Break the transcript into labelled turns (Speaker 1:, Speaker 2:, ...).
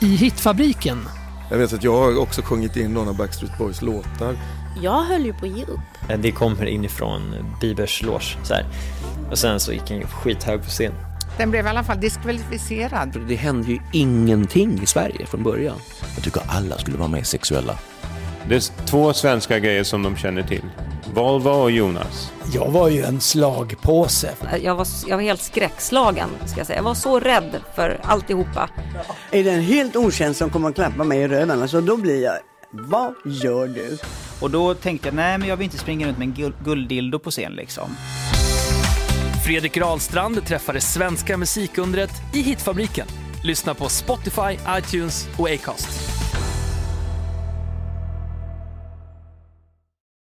Speaker 1: i hitfabriken.
Speaker 2: Jag vet att jag har också sjungit in några Backstreet Boys låtar.
Speaker 3: Jag höll ju på att ge upp.
Speaker 4: Eh, Det kommer inifrån Biebers loge så här. Och sen så gick han ju skithög på scen.
Speaker 5: Den blev i alla fall diskvalificerad.
Speaker 6: Det hände ju ingenting i Sverige från början.
Speaker 7: Jag tycker alla skulle vara mer sexuella.
Speaker 8: Det är två svenska grejer som de känner till. Volvo och Jonas.
Speaker 9: Jag var ju en slagpåse.
Speaker 10: Jag var, jag var helt skräckslagen, ska jag säga. Jag var så rädd för alltihopa.
Speaker 5: Är det en helt okänd som kommer att klappa mig i röven, alltså då blir jag... Vad gör du?
Speaker 9: Och då tänkte jag, nej men jag vill inte springa runt med en guld- gulddildo på scen liksom.
Speaker 1: Fredrik Rahlstrand träffade svenska musikundret i hitfabriken. Lyssna på Spotify, iTunes och Acast.